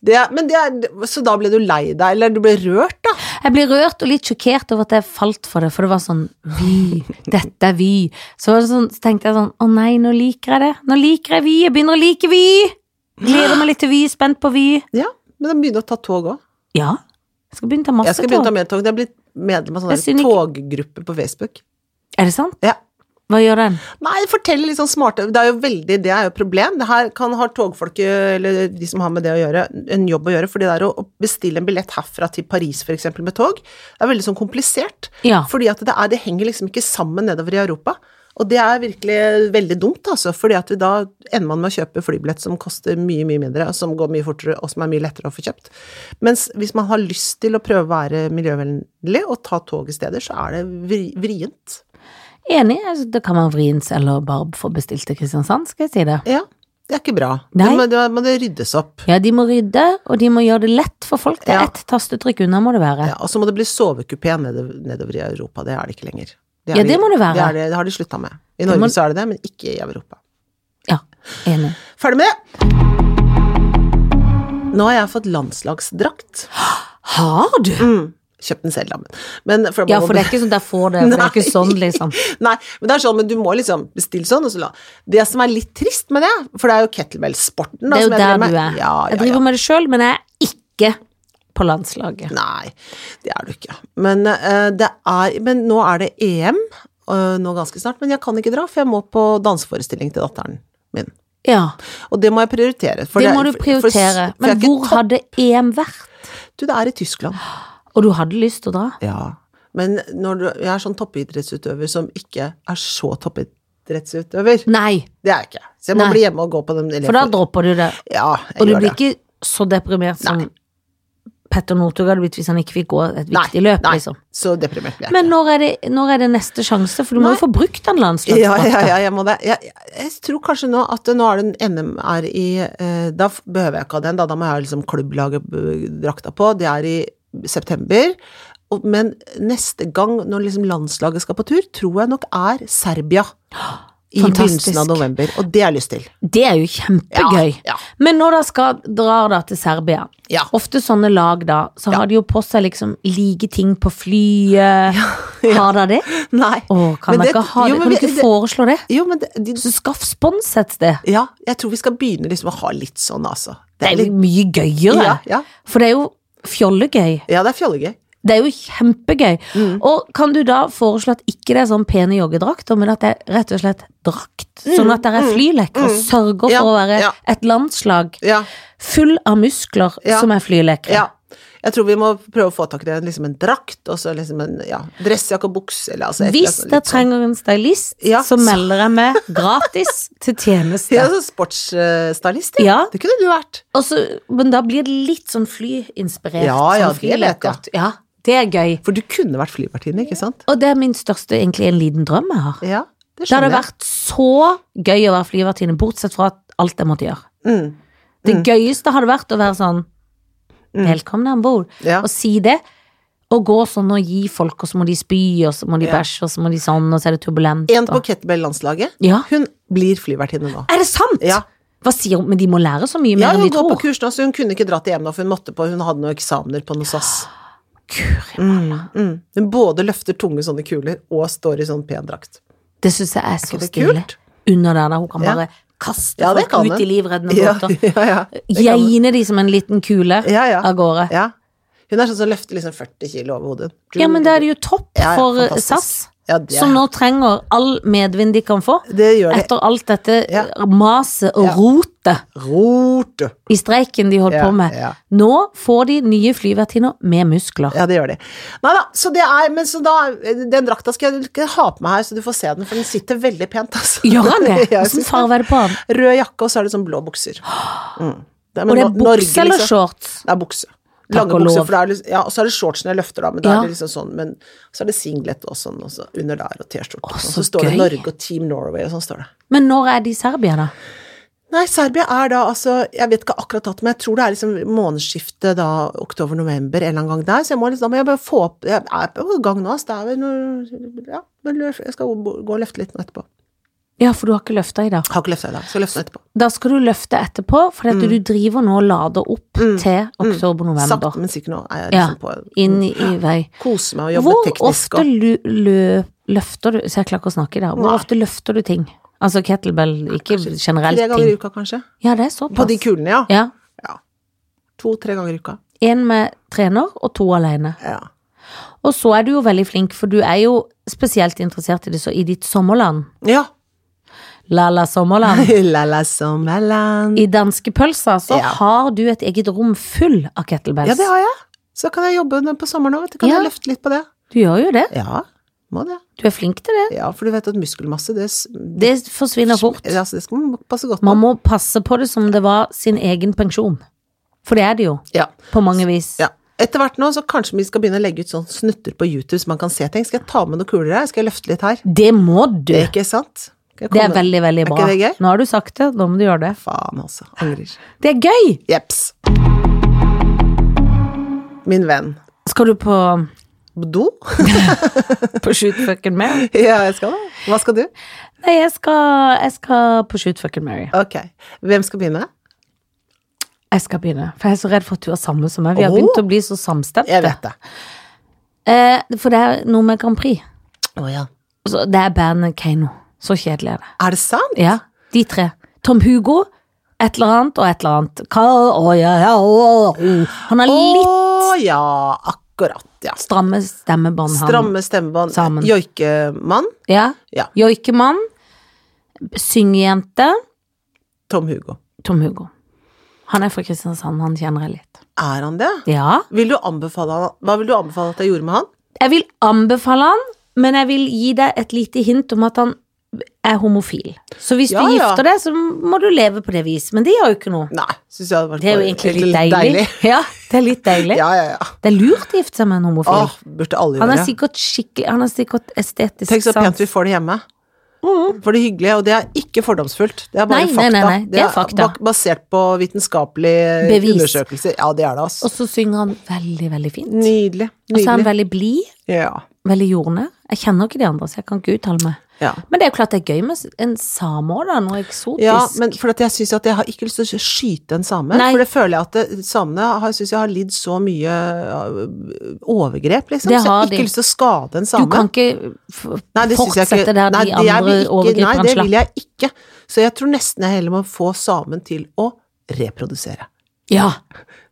Speaker 1: Det, er- men det er, så da ble du lei deg, eller du ble rørt, da?
Speaker 2: Jeg ble rørt og litt sjokkert over at jeg falt for det, for det var sånn Vy, dette er Vy. Så, var det sånn, så tenkte jeg sånn Å nei, nå liker jeg det. Nå liker jeg Vy. Jeg begynner å like Vy. Gleder meg litt til Vy. Spent på Vy.
Speaker 1: Ja, men da begynner å ta tog òg.
Speaker 2: Ja. Jeg skal begynne å ta
Speaker 1: Jeg
Speaker 2: masse
Speaker 1: skal begynne å ta
Speaker 2: tog.
Speaker 1: mer tog. Jeg er blitt medlem av
Speaker 2: Jeg
Speaker 1: sånne
Speaker 2: synes
Speaker 1: toggrupper på Facebook.
Speaker 2: Er det sant?
Speaker 1: Ja.
Speaker 2: Hva gjør den?
Speaker 1: Nei, fortell litt sånn smarte Det er jo veldig, det er jo et problem. Det her kan ha togfolket, eller de som har med det å gjøre, en jobb å gjøre, for det der å å bestille en billett herfra til Paris, for eksempel, med tog, det er veldig sånn komplisert.
Speaker 2: Ja.
Speaker 1: Fordi at det er, det henger liksom ikke sammen nedover i Europa. Og det er virkelig veldig dumt, altså, fordi at da ender man med å kjøpe flybillett som koster mye, mye mindre, og som går mye fortere, og som er mye lettere å få kjøpt. Mens hvis man har lyst til å prøve å være miljøvennlig og ta tog i stedet, så er det vri- vrient.
Speaker 2: Enig. altså, Da kan man vriens eller bare få bestilt til Kristiansand, skal jeg si det.
Speaker 1: Ja, det er ikke bra.
Speaker 2: Nei.
Speaker 1: Det må, det må det ryddes opp.
Speaker 2: Ja, de må rydde, og de må gjøre det lett for folk. Det er
Speaker 1: Ja.
Speaker 2: ett tastetrykk unna, må det være.
Speaker 1: Ja, og så må det bli sovekupé nedover, nedover i Europa. Det er det ikke lenger. er
Speaker 2: Ja, det må det være.
Speaker 1: Det, er det, det har de slutta med. I Norge
Speaker 2: må-
Speaker 1: så er det det, men ikke i Europa.
Speaker 2: Ja. Enig.
Speaker 1: Ferdig med det! Nå har jeg fått landslagsdrakt.
Speaker 2: Har du?
Speaker 1: Mm. Kjøpt den selv, da, men- men for
Speaker 2: Ja, for det er ikke sånn der får det. For det er ikke sånn, liksom.
Speaker 1: (laughs) Nei, men det er sånn, men du må liksom bestille sånn, og så la Det som er litt trist med det, for det er jo kettlebell-sporten da,
Speaker 2: Det er jo
Speaker 1: som jeg
Speaker 2: der
Speaker 1: driver med.
Speaker 2: du er.
Speaker 1: Ja,
Speaker 2: Jeg
Speaker 1: ja, ja.
Speaker 2: driver med det sjøl, men jeg er ikke på landslaget.
Speaker 1: Nei, det er du ikke. Men, eh, det er, men nå er det EM, eh, nå ganske snart, men jeg kan ikke dra, for jeg må på danseforestilling til datteren min.
Speaker 2: Ja,
Speaker 1: Og det må jeg prioritere. for
Speaker 2: Det må du
Speaker 1: er- for- for- for jeg
Speaker 2: prioritere. Men
Speaker 1: er
Speaker 2: hvor
Speaker 1: ikke topp-
Speaker 2: hadde EM vært?
Speaker 1: Du, det er i Tyskland.
Speaker 2: Og du hadde lyst til å dra?
Speaker 1: Ja. Men når du, jeg er sånn toppidrettsutøver som ikke er så toppidrettsutøver.
Speaker 2: Nei,
Speaker 1: Det er jeg ikke. Så jeg må
Speaker 2: Nei.
Speaker 1: bli hjemme og gå på den eleven.
Speaker 2: for da dropper du det.
Speaker 1: Ja, jeg
Speaker 2: Og du
Speaker 1: gjør det.
Speaker 2: blir ikke så deprimert som Petter Northug hadde blitt hvis han ikke fikk gå et
Speaker 1: Nei,
Speaker 2: viktig løp,
Speaker 1: nei,
Speaker 2: liksom.
Speaker 1: Så deprimert blir jeg
Speaker 2: Men
Speaker 1: ikke.
Speaker 2: når er, det, når er det neste sjanse? For du må
Speaker 1: Nei.
Speaker 2: jo få brukt
Speaker 1: (laughs)
Speaker 2: den
Speaker 1: Ja, ja,
Speaker 2: landslagsdrakta.
Speaker 1: ja, jeg må det. Jeg, jeg, jeg tror kanskje nå at nå er det en NM er i eh, Da f- behøver jeg ikke ha den, da, da må jeg ha liksom klubblagdrakta på. Det er i september. Og, men neste gang, når liksom landslaget skal på tur, tror jeg nok er Serbia.
Speaker 2: (gasps)
Speaker 1: I
Speaker 2: Fantastisk.
Speaker 1: begynnelsen av november. Og det har jeg lyst til.
Speaker 2: Det er jo kjempegøy.
Speaker 1: Ja,
Speaker 2: Men når da skal drar da til Serbia,
Speaker 1: ja,
Speaker 2: Ofte sånne lag da, så har de jo på seg liksom like ting på flyet. (laughs) Har de det?
Speaker 1: ja. Nei.
Speaker 2: Å, kan
Speaker 1: Men
Speaker 2: de
Speaker 1: det-
Speaker 2: ikke ha det?
Speaker 1: jo, men
Speaker 2: kan du
Speaker 1: vi-
Speaker 2: ikke
Speaker 1: det-
Speaker 2: foreslå det?
Speaker 1: Jo, men det, de,
Speaker 2: Så skaff spons et sted.
Speaker 1: Ja, jeg tror vi skal begynne liksom å ha litt sånn, altså.
Speaker 2: Det er jo mye gøyere.
Speaker 1: ja, ja,
Speaker 2: For det er jo fjollegøy.
Speaker 1: ja, det er fjollegøy.
Speaker 2: Det er jo kjempegøy.
Speaker 1: Mm.
Speaker 2: Og kan du da foreslå at ikke det er sånn pene joggedrakter, men at det er rett og slett drakt? Sånn at det er flyleker og sørger
Speaker 1: Mm, Ja,
Speaker 2: for å være
Speaker 1: ja.
Speaker 2: et landslag
Speaker 1: Ja.
Speaker 2: full av muskler
Speaker 1: Ja.
Speaker 2: som er flylekere.
Speaker 1: ja. Jeg tror vi må prøve å få tak i det. Liksom en drakt, og så liksom en ja, dressjakke og bukse, eller altså et
Speaker 2: Hvis
Speaker 1: eller
Speaker 2: dere
Speaker 1: annet sånt.
Speaker 2: trenger en stylist,
Speaker 1: Ja,
Speaker 2: så
Speaker 1: så-
Speaker 2: melder jeg meg gratis til
Speaker 1: (laughs)
Speaker 2: tjeneste.
Speaker 1: Ja, så sportsstylist, ja.
Speaker 2: Ja,
Speaker 1: Det kunne du vært.
Speaker 2: og så- men da blir det litt sånn flyinspirert.
Speaker 1: Ja, ja,
Speaker 2: sånn
Speaker 1: det vet jeg.
Speaker 2: flylekert. Ja, det er gøy.
Speaker 1: For du kunne vært flyvertinne, ikke sant?
Speaker 2: Og det er min største egentlig en liten drøm jeg har.
Speaker 1: Ja, det
Speaker 2: Det hadde
Speaker 1: skjønner jeg.
Speaker 2: vært så gøy å være flyvertinne, bortsett fra at alt jeg måtte gjøre.
Speaker 1: Mm,
Speaker 2: Det
Speaker 1: Mm.
Speaker 2: gøyeste hadde vært å være sånn
Speaker 1: Mm.
Speaker 2: Velkommen om bord.
Speaker 1: ja.
Speaker 2: Og si det. Og gå sånn og gi folk, og så må de spy, og så må de
Speaker 1: Ja.
Speaker 2: bæsje, og så må de sånn, og så er det turbulent.
Speaker 1: En på
Speaker 2: og...
Speaker 1: kettlebell-landslaget,
Speaker 2: Ja.
Speaker 1: hun blir flyvertinne nå.
Speaker 2: Er det sant?!
Speaker 1: Ja.
Speaker 2: Hva sier hun? Men de må lære så mye mer
Speaker 1: Ja,
Speaker 2: enn
Speaker 1: hun
Speaker 2: de
Speaker 1: går på
Speaker 2: tror.
Speaker 1: kurs nå, så hun kunne ikke dratt hjem nå, for hun måtte på, hun hadde noen eksamener på noe SAS.
Speaker 2: Kuri.
Speaker 1: Mm, mm. Hun både løfter tunge sånne kuler, og står i sånn pen drakt.
Speaker 2: Det syns jeg er så
Speaker 1: Ikke det
Speaker 2: stilig.
Speaker 1: kult?
Speaker 2: Under der, der hun kan
Speaker 1: Ja.
Speaker 2: bare kaste
Speaker 1: Ja, det
Speaker 2: folk
Speaker 1: kan
Speaker 2: ut
Speaker 1: hun.
Speaker 2: i livreddende
Speaker 1: Ja,
Speaker 2: båter.
Speaker 1: ja, ja. (laughs) Det kan hun.
Speaker 2: Geine de som en liten kule
Speaker 1: Ja, ja.
Speaker 2: av gårde.
Speaker 1: ja. Hun er sånn som løfter liksom 40 kilo over hodet.
Speaker 2: Ja, men da er det jo topp
Speaker 1: Ja, ja,
Speaker 2: for eh,
Speaker 1: fantastisk.
Speaker 2: SAS,
Speaker 1: Ja, det,
Speaker 2: som nå trenger all medvind de kan få.
Speaker 1: det gjør det.
Speaker 2: Etter alt dette
Speaker 1: Ja.
Speaker 2: maset og
Speaker 1: Ja.
Speaker 2: rotet
Speaker 1: Rote!
Speaker 2: i streiken de holdt
Speaker 1: Ja,
Speaker 2: på med.
Speaker 1: ja.
Speaker 2: Nå får de nye flyvertinner med muskler.
Speaker 1: Ja, det gjør de. Nei da, så det er Men så da Den drakta skal jeg ikke ha på meg her, så du får se den, for den sitter veldig pent, altså.
Speaker 2: Gjør han
Speaker 1: (laughs)
Speaker 2: det?
Speaker 1: Ja, jeg
Speaker 2: Åssen
Speaker 1: synes
Speaker 2: farge er det på han?
Speaker 1: det. Rød jakke, og så er det sånn blå bukser. Mm. Det er,
Speaker 2: Og
Speaker 1: men
Speaker 2: det
Speaker 1: Nor-
Speaker 2: er
Speaker 1: Norge,
Speaker 2: bukse eller
Speaker 1: liksom.
Speaker 2: shorts?
Speaker 1: Det er bukse.
Speaker 2: Takk
Speaker 1: Lange
Speaker 2: og
Speaker 1: bukser,
Speaker 2: lov.
Speaker 1: for det er, liksom- ja, og så er det shortsen jeg løfter, da, men da
Speaker 2: Ja.
Speaker 1: er det liksom sånn, men så er det singlet og sånn, og så under der, og T-skjorte.
Speaker 2: Å,
Speaker 1: og sånn.
Speaker 2: så
Speaker 1: så står
Speaker 2: gøy.
Speaker 1: det Norge og Team Norway, og sånn står det.
Speaker 2: Men når er de i Serbia, da?
Speaker 1: Nei, Serbia er da altså Jeg vet ikke akkurat dato, men jeg tror det er liksom månedsskiftet da oktober-november en eller annen gang der, så jeg må liksom Da må jeg bare få opp Jeg er på gang nå, altså. Det er vel noe Ja, men jeg skal gå og løfte litt nå etterpå.
Speaker 2: Ja, for du har ikke løfta i dag.
Speaker 1: Har ikke løfta i dag, skal løfte nå etterpå.
Speaker 2: Da skal du løfte etterpå, for
Speaker 1: Mm.
Speaker 2: at du driver nå og lader opp til oktober-november.
Speaker 1: Sakte, men sikkert nå er jeg
Speaker 2: Ja,
Speaker 1: liksom på
Speaker 2: inn i i vei.
Speaker 1: Kose meg og jobbe
Speaker 2: Hvor
Speaker 1: teknisk
Speaker 2: ofte
Speaker 1: og
Speaker 2: lu- lø, løfter du Så jeg klarer ikke å snakke i dag. Hvor
Speaker 1: Nei.
Speaker 2: ofte løfter du ting? Altså kettlebell, ikke generelt
Speaker 1: Tre ganger i
Speaker 2: ting.
Speaker 1: uka, kanskje.
Speaker 2: Ja, det er
Speaker 1: På de
Speaker 2: såpass.
Speaker 1: kulene, ja.
Speaker 2: Ja.
Speaker 1: To-tre ganger i uka.
Speaker 2: Én med trener og to alene.
Speaker 1: Ja.
Speaker 2: Og så er du jo veldig flink, for du er jo spesielt interessert i det så i ditt sommerland.
Speaker 1: ja. (laughs)
Speaker 2: Lala Sommerland.
Speaker 1: La-la sommerland.
Speaker 2: I danskepølsa så
Speaker 1: Mm. Ja.
Speaker 2: har du et eget rom full av kettlebells.
Speaker 1: Ja, det har jeg. Så kan jeg jobbe på sommeren òg, vet du. Kan
Speaker 2: Ja.
Speaker 1: jeg løfte litt på det?
Speaker 2: Du gjør jo det.
Speaker 1: Ja, må det.
Speaker 2: Du er flink til det.
Speaker 1: Ja, for du vet at muskelmasse, det, s-
Speaker 2: Det forsvinner fort.
Speaker 1: Ja, så det skal man passe godt på.
Speaker 2: Man må passe på det som det var sin egen pensjon. For det er det jo,
Speaker 1: Ja.
Speaker 2: på mange vis.
Speaker 1: ja. Etter hvert nå, så kanskje vi skal begynne å legge ut sånne snutter på YouTube, så man kan se ting. Skal jeg ta med noen kuler her? Skal jeg løfte litt her?
Speaker 2: Det må du!
Speaker 1: Det er ikke sant? Skal jeg
Speaker 2: Det er
Speaker 1: komme-
Speaker 2: veldig, veldig
Speaker 1: Er
Speaker 2: bra.
Speaker 1: ikke det gøy?
Speaker 2: Nå har du sagt det, da må du gjøre det.
Speaker 1: Faen, altså. Angrer.
Speaker 2: Det er gøy!
Speaker 1: Jeps. Min venn.
Speaker 2: Skal du på,
Speaker 1: På Do?
Speaker 2: på Shoot Fucking Mary?
Speaker 1: (laughs) ja, jeg skal det. Hva skal du?
Speaker 2: Nei, jeg skal, jeg skal på Shoot Fucking Mary.
Speaker 1: Ok. Hvem skal begynne?
Speaker 2: Jeg skal begynne, for jeg er så redd for at du er samme som meg. Vi har
Speaker 1: Åh.
Speaker 2: begynt å bli så samstemte.
Speaker 1: Jeg vet det.
Speaker 2: Eh, for det er noe med Grand Prix.
Speaker 1: Å ja.
Speaker 2: Så det er bandet Keiino. Så kjedelig er det.
Speaker 1: Er det sant?
Speaker 2: Ja, de tre. Tom Hugo, et eller annet og et eller annet. Hva, å, ja, ja, å, å. Han har litt
Speaker 1: Å ja, akkurat, ja.
Speaker 2: stramme stemmebånd, han.
Speaker 1: Stramme stemmebånd.
Speaker 2: Sammen.
Speaker 1: Joikemann.
Speaker 2: Ja.
Speaker 1: Ja.
Speaker 2: Joikemann, syngejente,
Speaker 1: Tom Hugo.
Speaker 2: Tom Hugo. Han er fra Kristiansand, han kjenner jeg litt.
Speaker 1: Er han det?
Speaker 2: Ja.
Speaker 1: Vil du anbefale han, hva vil du anbefale at jeg gjorde med han?
Speaker 2: Jeg vil anbefale han, men jeg vil gi deg et lite hint om at han er homofil. Så hvis
Speaker 1: Ja,
Speaker 2: du
Speaker 1: ja.
Speaker 2: gifter deg, så må du leve på det vis. Men det gjør jo ikke noe.
Speaker 1: Nei, syns jeg hadde vært
Speaker 2: Det er jo
Speaker 1: bare-
Speaker 2: egentlig litt deilig. (laughs) Ja, det er litt deilig.
Speaker 1: Ja, ja, ja.
Speaker 2: Det er lurt å gifte seg med en homofil.
Speaker 1: Åh, burde alle
Speaker 2: Han
Speaker 1: gjøre
Speaker 2: er
Speaker 1: det.
Speaker 2: sikkert skikkelig Han er sikkert estetisk
Speaker 1: Tenk så
Speaker 2: sans.
Speaker 1: pent vi får det hjemme. For det hyggelige, og det er ikke fordomsfullt. Det er bare
Speaker 2: Nei, nei,
Speaker 1: fakta.
Speaker 2: nei, nei, det er fakta.
Speaker 1: bak- basert på vitenskapelige
Speaker 2: Bevis.
Speaker 1: undersøkelser. Ja, det er det, altså.
Speaker 2: Og så synger han veldig, veldig fint.
Speaker 1: Nydelig.
Speaker 2: Og så er han
Speaker 1: Nydelig.
Speaker 2: veldig blid,
Speaker 1: Ja.
Speaker 2: veldig jordnær. Jeg kjenner ikke de andre, så jeg kan ikke uttale meg.
Speaker 1: ja.
Speaker 2: Men det er jo klart det er gøy med en same òg, da. Noe eksotisk.
Speaker 1: Ja, men for at jeg synes at jeg har ikke lyst til å skyte en same.
Speaker 2: Nei.
Speaker 1: For det føler jeg at det, samene har, synes jeg har lidd så mye øh, overgrep, liksom. Så
Speaker 2: Det
Speaker 1: jeg
Speaker 2: har
Speaker 1: har
Speaker 2: de.
Speaker 1: ikke lyst til å skade en
Speaker 2: du
Speaker 1: same.
Speaker 2: kan ikke f-
Speaker 1: Nei, det synes jeg
Speaker 2: fortsette
Speaker 1: ikke.
Speaker 2: der
Speaker 1: Nei,
Speaker 2: de
Speaker 1: det jeg vil
Speaker 2: andre
Speaker 1: ikke- Nei,
Speaker 2: overgriperne
Speaker 1: det vil
Speaker 2: slapp.
Speaker 1: jeg ikke. Så jeg tror nesten jeg heller må få samen til å reprodusere.
Speaker 2: Ja,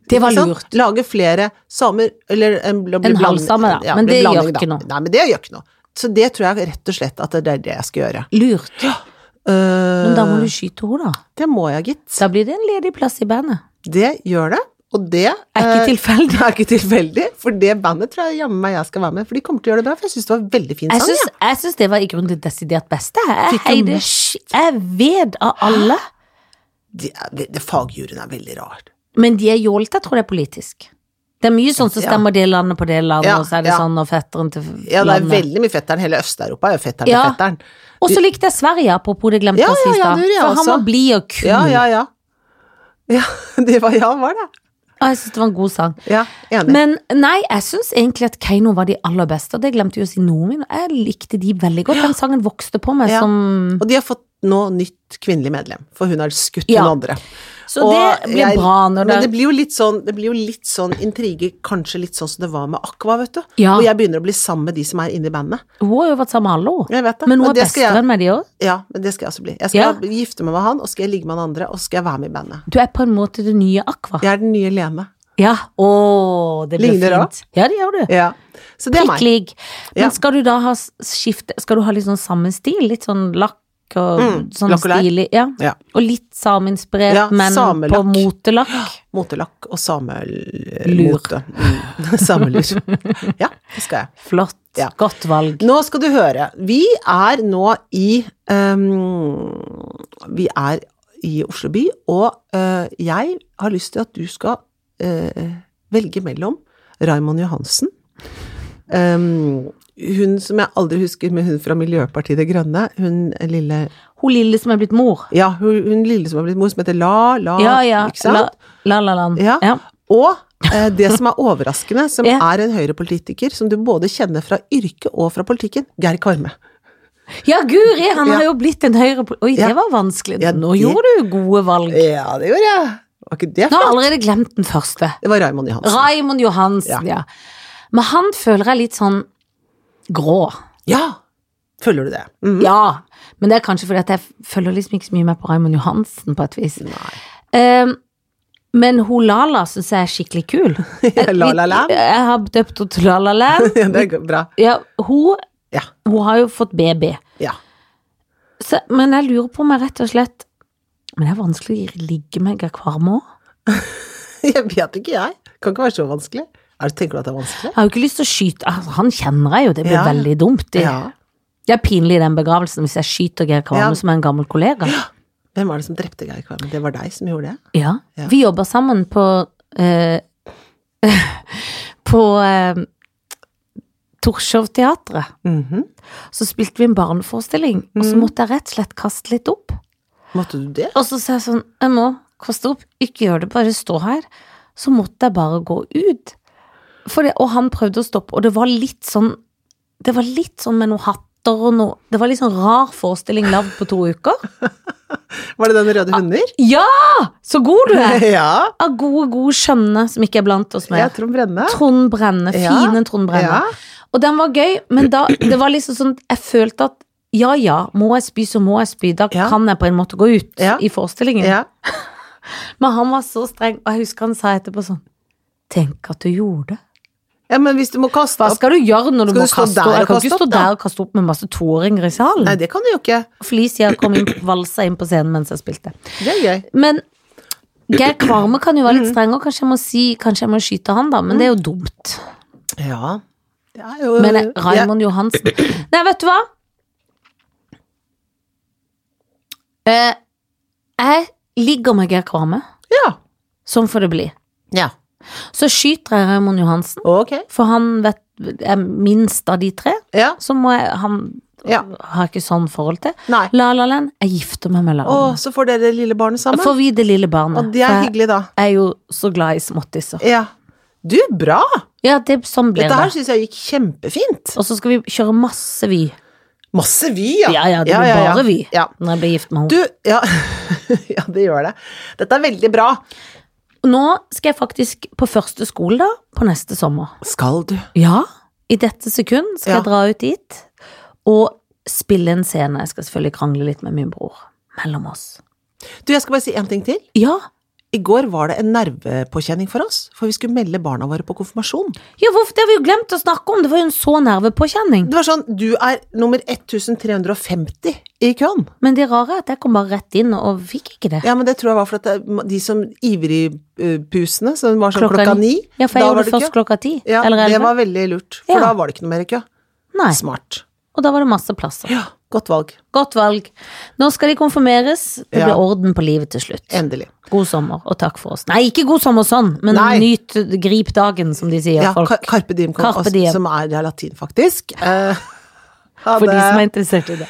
Speaker 2: det var
Speaker 1: Ikke sant?
Speaker 2: lurt.
Speaker 1: Lage flere samer eller En, bl- bl-
Speaker 2: En
Speaker 1: blanding-
Speaker 2: halvsame, da.
Speaker 1: Ja,
Speaker 2: Men
Speaker 1: bli
Speaker 2: det gjør
Speaker 1: blanding, da.
Speaker 2: ikke noe.
Speaker 1: Nei, men det gjør ikke noe. Så det tror jeg rett og slett at det er det jeg skal gjøre.
Speaker 2: Lurt.
Speaker 1: Eh,
Speaker 2: Men da må du skyte henne, da.
Speaker 1: Det må jeg, gitt.
Speaker 2: Da blir det en ledig plass i bandet.
Speaker 1: Det gjør det, og det
Speaker 2: Er
Speaker 1: eh,
Speaker 2: ikke tilfeldig.
Speaker 1: Det (laughs) er ikke tilfeldig, for det bandet tror jeg jammen meg jeg skal være med. For de kommer til å gjøre det bra, for jeg syns det var en veldig fin
Speaker 2: Jeg
Speaker 1: sang.
Speaker 2: syns,
Speaker 1: jeg.
Speaker 2: jeg syns det var i grunnen det desidert beste. Jeg
Speaker 1: Fikk jo
Speaker 2: heide
Speaker 1: mest.
Speaker 2: sk- Jeg ved av alle.
Speaker 1: De, er- det, det fagjuryen er veldig rar.
Speaker 2: Men de er jålete, jeg tror det er politisk. Det er mye sånn som
Speaker 1: Ja.
Speaker 2: stemmer det landet på det landet,
Speaker 1: Ja,
Speaker 2: og så er det
Speaker 1: ja.
Speaker 2: sånn og fetteren til
Speaker 1: Ja, det er
Speaker 2: landet.
Speaker 1: veldig mye fetteren. Hele Øst-Europa er jo fetteren til
Speaker 2: Ja.
Speaker 1: fetteren.
Speaker 2: Og så likte jeg Sverige, apropos det glemte
Speaker 1: Ja,
Speaker 2: jeg
Speaker 1: ja,
Speaker 2: sist,
Speaker 1: ja,
Speaker 2: da.
Speaker 1: det gjorde jeg
Speaker 2: For han
Speaker 1: også.
Speaker 2: var blid og kul.
Speaker 1: Ja, ja, ja. (laughs) Ja, det var, ja, var det.
Speaker 2: Og jeg syns det var en god sang.
Speaker 1: Ja, enig.
Speaker 2: Men nei, jeg syns egentlig at Keiino var de aller beste, og det glemte jeg å si noe min. Jeg likte de veldig godt. Den sangen vokste på meg
Speaker 1: Ja.
Speaker 2: som
Speaker 1: Og de har fått nå nytt kvinnelig medlem, for hun har skutt
Speaker 2: Ja.
Speaker 1: hun andre.
Speaker 2: Så
Speaker 1: Og
Speaker 2: det blir
Speaker 1: jeg-
Speaker 2: bra når det
Speaker 1: Men det blir jo litt sånn, det blir jo litt sånn intrige, kanskje litt sånn som det var med Aqua, vet du.
Speaker 2: Ja.
Speaker 1: Hvor jeg begynner å bli sammen med de som er inne i bandet.
Speaker 2: Hun har jo vært sammen med alle, hun.
Speaker 1: Jeg vet det.
Speaker 2: Men hun
Speaker 1: og
Speaker 2: er
Speaker 1: det skal jeg-
Speaker 2: bestevenn med de òg.
Speaker 1: Ja, men det skal jeg også bli. Jeg skal
Speaker 2: Ja.
Speaker 1: gifte meg med han, og skal jeg ligge med han andre, og skal jeg være med i bandet.
Speaker 2: Du er på en måte det nye Aqua.
Speaker 1: Jeg er den nye Lene.
Speaker 2: Ja. Å, det blir
Speaker 1: Ligner det
Speaker 2: fint. Ja, det gjør du.
Speaker 1: Ja. Så det er
Speaker 2: Prikk
Speaker 1: meg.
Speaker 2: lik. Men
Speaker 1: Ja.
Speaker 2: skal du da ha s- skifte Skal du ha litt sånn samme stil? Litt sånn lakk og
Speaker 1: Mm,
Speaker 2: sånn
Speaker 1: lakk og lær.
Speaker 2: stilig ja.
Speaker 1: Ja.
Speaker 2: Og litt sameinspirert,
Speaker 1: Ja,
Speaker 2: men på
Speaker 1: samelakk.
Speaker 2: motelakk.
Speaker 1: Motelakk og
Speaker 2: Lur.
Speaker 1: samelmote. Mm. (laughs) Samelur. Ja, det skal jeg.
Speaker 2: Flott.
Speaker 1: Ja.
Speaker 2: Godt valg.
Speaker 1: Nå skal du høre. Vi er nå i ehm, Vi er i Oslo by, og eh, jeg har lyst til at du skal eh, velge mellom Raymond Johansen ehm, Hun som jeg aldri husker, men hun fra Miljøpartiet De Grønne. Hun lille
Speaker 2: Hun lille som er blitt mor.
Speaker 1: Ja, hun, hun lille som har blitt mor, som heter La, La,
Speaker 2: Ja, ja.
Speaker 1: ikke sant?
Speaker 2: La-la-land.
Speaker 1: Ja.
Speaker 2: Ja.
Speaker 1: Og eh, det som er overraskende, som
Speaker 2: (laughs) Ja.
Speaker 1: er en høyrepolitiker som du både kjenner fra yrket og fra politikken, Geir Kvarme.
Speaker 2: ja, guri, han
Speaker 1: Ja.
Speaker 2: har jo blitt en høyre... Oi,
Speaker 1: Ja.
Speaker 2: det var vanskelig.
Speaker 1: Ja,
Speaker 2: Nå
Speaker 1: det-
Speaker 2: gjorde du gode valg.
Speaker 1: Ja, det gjorde jeg. Var ikke det
Speaker 2: Nå har jeg
Speaker 1: flott?
Speaker 2: allerede glemt den første.
Speaker 1: Det var Raymond Johansen.
Speaker 2: Raymond Johansen, ja. Men han føler jeg litt sånn grå.
Speaker 1: ja! Følger du det? Mhm.
Speaker 2: Ja, men det er kanskje fordi at jeg følger liksom ikke så mye med på Raymond Johansen på et vis.
Speaker 1: (laughs) Nei.
Speaker 2: Ehm, men hun Lala syns jeg er skikkelig
Speaker 1: (laughs)
Speaker 2: kul.
Speaker 1: La La Land?
Speaker 2: Jeg har døpt henne til La La Land.
Speaker 1: (laughs) Ja, det er bra.
Speaker 2: Ja, hun,
Speaker 1: Ja.
Speaker 2: hun har jo fått baby.
Speaker 1: Ja. (laughs)
Speaker 2: Så, men jeg lurer på om jeg rett og slett Men det er vanskelig å ligge med Geir Kvarmo.
Speaker 1: Jeg vet ikke, jeg. Kan ikke være så vanskelig. Er, det- tenker du at det er vanskelig?
Speaker 2: Jeg har jo ikke lyst til å skyte altså, Han kjenner jeg jo, det blir
Speaker 1: Ja, ja.
Speaker 2: veldig dumt. Det,
Speaker 1: Ja.
Speaker 2: det er pinlig i den begravelsen hvis jeg skyter Geir Kvarmo,
Speaker 1: Ja.
Speaker 2: som er en gammel kollega.
Speaker 1: Hvem var det som drepte Geir Kvarme? Det var deg som gjorde det?
Speaker 2: Ja.
Speaker 1: Ja.
Speaker 2: Vi jobber sammen på eh, (laughs) På eh, Torshov-teatret.
Speaker 1: Mhm.
Speaker 2: Så spilte vi en barneforestilling, og så
Speaker 1: Mm.
Speaker 2: måtte jeg rett og slett kaste litt opp.
Speaker 1: Måtte du det?
Speaker 2: Og så sa jeg sånn, jeg må kaste opp, ikke gjør det, bare stå her. Så måtte jeg bare gå ut. For det, og han prøvde å stoppe, og det var litt sånn Det var litt sånn med noen hatter og noe Det var litt sånn rar forestilling lagd på to uker.
Speaker 1: Var det den røde hunder?
Speaker 2: Ja! Så god du
Speaker 1: Ah,
Speaker 2: er!
Speaker 1: Ja.
Speaker 2: Av gode, gode skjønne som ikke er blant oss
Speaker 1: Ja,
Speaker 2: mer.
Speaker 1: Trond Brenne.
Speaker 2: Trond Brenne,
Speaker 1: Ja.
Speaker 2: fine Trond Brenne.
Speaker 1: Ja.
Speaker 2: Og den var gøy, men da, det var liksom sånn Jeg følte at ja, ja, må jeg spy, så må jeg spy. Da
Speaker 1: Ja.
Speaker 2: kan jeg på en måte gå ut
Speaker 1: Ja.
Speaker 2: i forestillingen.
Speaker 1: ja.
Speaker 2: Men han var så streng, og jeg husker han sa etterpå sånn Tenk at du gjorde det.
Speaker 1: Ja, men hvis du må kaste
Speaker 2: Hva
Speaker 1: opp
Speaker 2: skal du gjøre når du
Speaker 1: Skal
Speaker 2: må
Speaker 1: du stå
Speaker 2: kaste
Speaker 1: der
Speaker 2: opp? Jeg
Speaker 1: og
Speaker 2: kan
Speaker 1: kaste
Speaker 2: ikke stå
Speaker 1: opp, da?
Speaker 2: der og kaste opp med masse toåringer i salen.
Speaker 1: Nei, det kan du jo ikke.
Speaker 2: Felicia kom inn, valsa inn på scenen mens jeg spilte.
Speaker 1: Det er gøy.
Speaker 2: Men Geir Kvarme kan jo være litt streng, og kanskje jeg må si Kanskje jeg må skyte han, da, men det er jo dumt.
Speaker 1: Ja. Det er jo
Speaker 2: Men eh, Raymond Johansen Nei, vet du hva? Eh, jeg ligger med Geir Kvarme.
Speaker 1: Ja.
Speaker 2: Sånn får det bli.
Speaker 1: ja.
Speaker 2: Så skyter jeg Raymond Johansen.
Speaker 1: Ok.
Speaker 2: For han vet, er minst av de tre,
Speaker 1: Ja.
Speaker 2: så må jeg Han
Speaker 1: Ja.
Speaker 2: har jeg ikke sånn forhold til.
Speaker 1: Nei.
Speaker 2: La La Land, jeg gifter meg med La La
Speaker 1: Å,
Speaker 2: Land.
Speaker 1: så får dere lille barnet sammen.
Speaker 2: Får vi det lille
Speaker 1: Og
Speaker 2: barnet.
Speaker 1: det
Speaker 2: for
Speaker 1: er
Speaker 2: jeg
Speaker 1: hyggelig, da.
Speaker 2: er jo så glad i småttiser.
Speaker 1: Ja. Du, bra!
Speaker 2: Ja, det, sånn blir
Speaker 1: Dette her
Speaker 2: det.
Speaker 1: syns jeg gikk kjempefint.
Speaker 2: Og så skal vi kjøre masse vi.
Speaker 1: Masse vi, ja.
Speaker 2: Ja ja, det blir
Speaker 1: ja, ja.
Speaker 2: bare vi
Speaker 1: Ja.
Speaker 2: når jeg blir gift med
Speaker 1: Du,
Speaker 2: henne.
Speaker 1: ja. (laughs) ja, det gjør det. Dette er veldig bra.
Speaker 2: Nå skal jeg faktisk på første skole, da, på neste sommer.
Speaker 1: Skal du?
Speaker 2: Ja, i dette sekund skal
Speaker 1: Ja.
Speaker 2: jeg dra ut dit og spille en scene. Jeg skal selvfølgelig krangle litt med min bror. Mellom oss.
Speaker 1: Du, jeg skal bare si én ting til.
Speaker 2: Ja,
Speaker 1: I går var det en nervepåkjenning for oss, for vi skulle melde barna våre på konfirmasjon.
Speaker 2: Ja, hvorfor? Det har vi jo glemt å snakke om, det var jo en så nervepåkjenning.
Speaker 1: Det var sånn, du er nummer 1350 i køen.
Speaker 2: Men det rare er at jeg kom bare rett inn og fikk ikke det.
Speaker 1: Ja, men det tror jeg var for at det, de som ivrigpusene, som var sånn klokka,
Speaker 2: Klokka
Speaker 1: ni,
Speaker 2: Ja, for jeg
Speaker 1: da
Speaker 2: gjorde
Speaker 1: var
Speaker 2: det
Speaker 1: det
Speaker 2: først
Speaker 1: kø.
Speaker 2: klokka ti,
Speaker 1: Ja,
Speaker 2: eller
Speaker 1: det
Speaker 2: elleve.
Speaker 1: var veldig lurt, for
Speaker 2: Ja.
Speaker 1: da var det ikke noe mer i kø.
Speaker 2: Nei,
Speaker 1: Smart.
Speaker 2: og da var det masse plasser.
Speaker 1: Ja, godt valg.
Speaker 2: Godt valg. Nå skal de konfirmeres, det
Speaker 1: Ja.
Speaker 2: blir orden på livet til slutt.
Speaker 1: Endelig.
Speaker 2: God sommer, og takk for oss. Nei, ikke god sommer sånn, men
Speaker 1: Nei.
Speaker 2: nyt, grip dagen, som de sier,
Speaker 1: Ja,
Speaker 2: folk.
Speaker 1: Ka- Carpe diem, kom,
Speaker 2: Carpe
Speaker 1: altså,
Speaker 2: diem.
Speaker 1: som er, det er latin, faktisk. Eh, (laughs) ha
Speaker 2: For de
Speaker 1: det.
Speaker 2: som er interessert i det.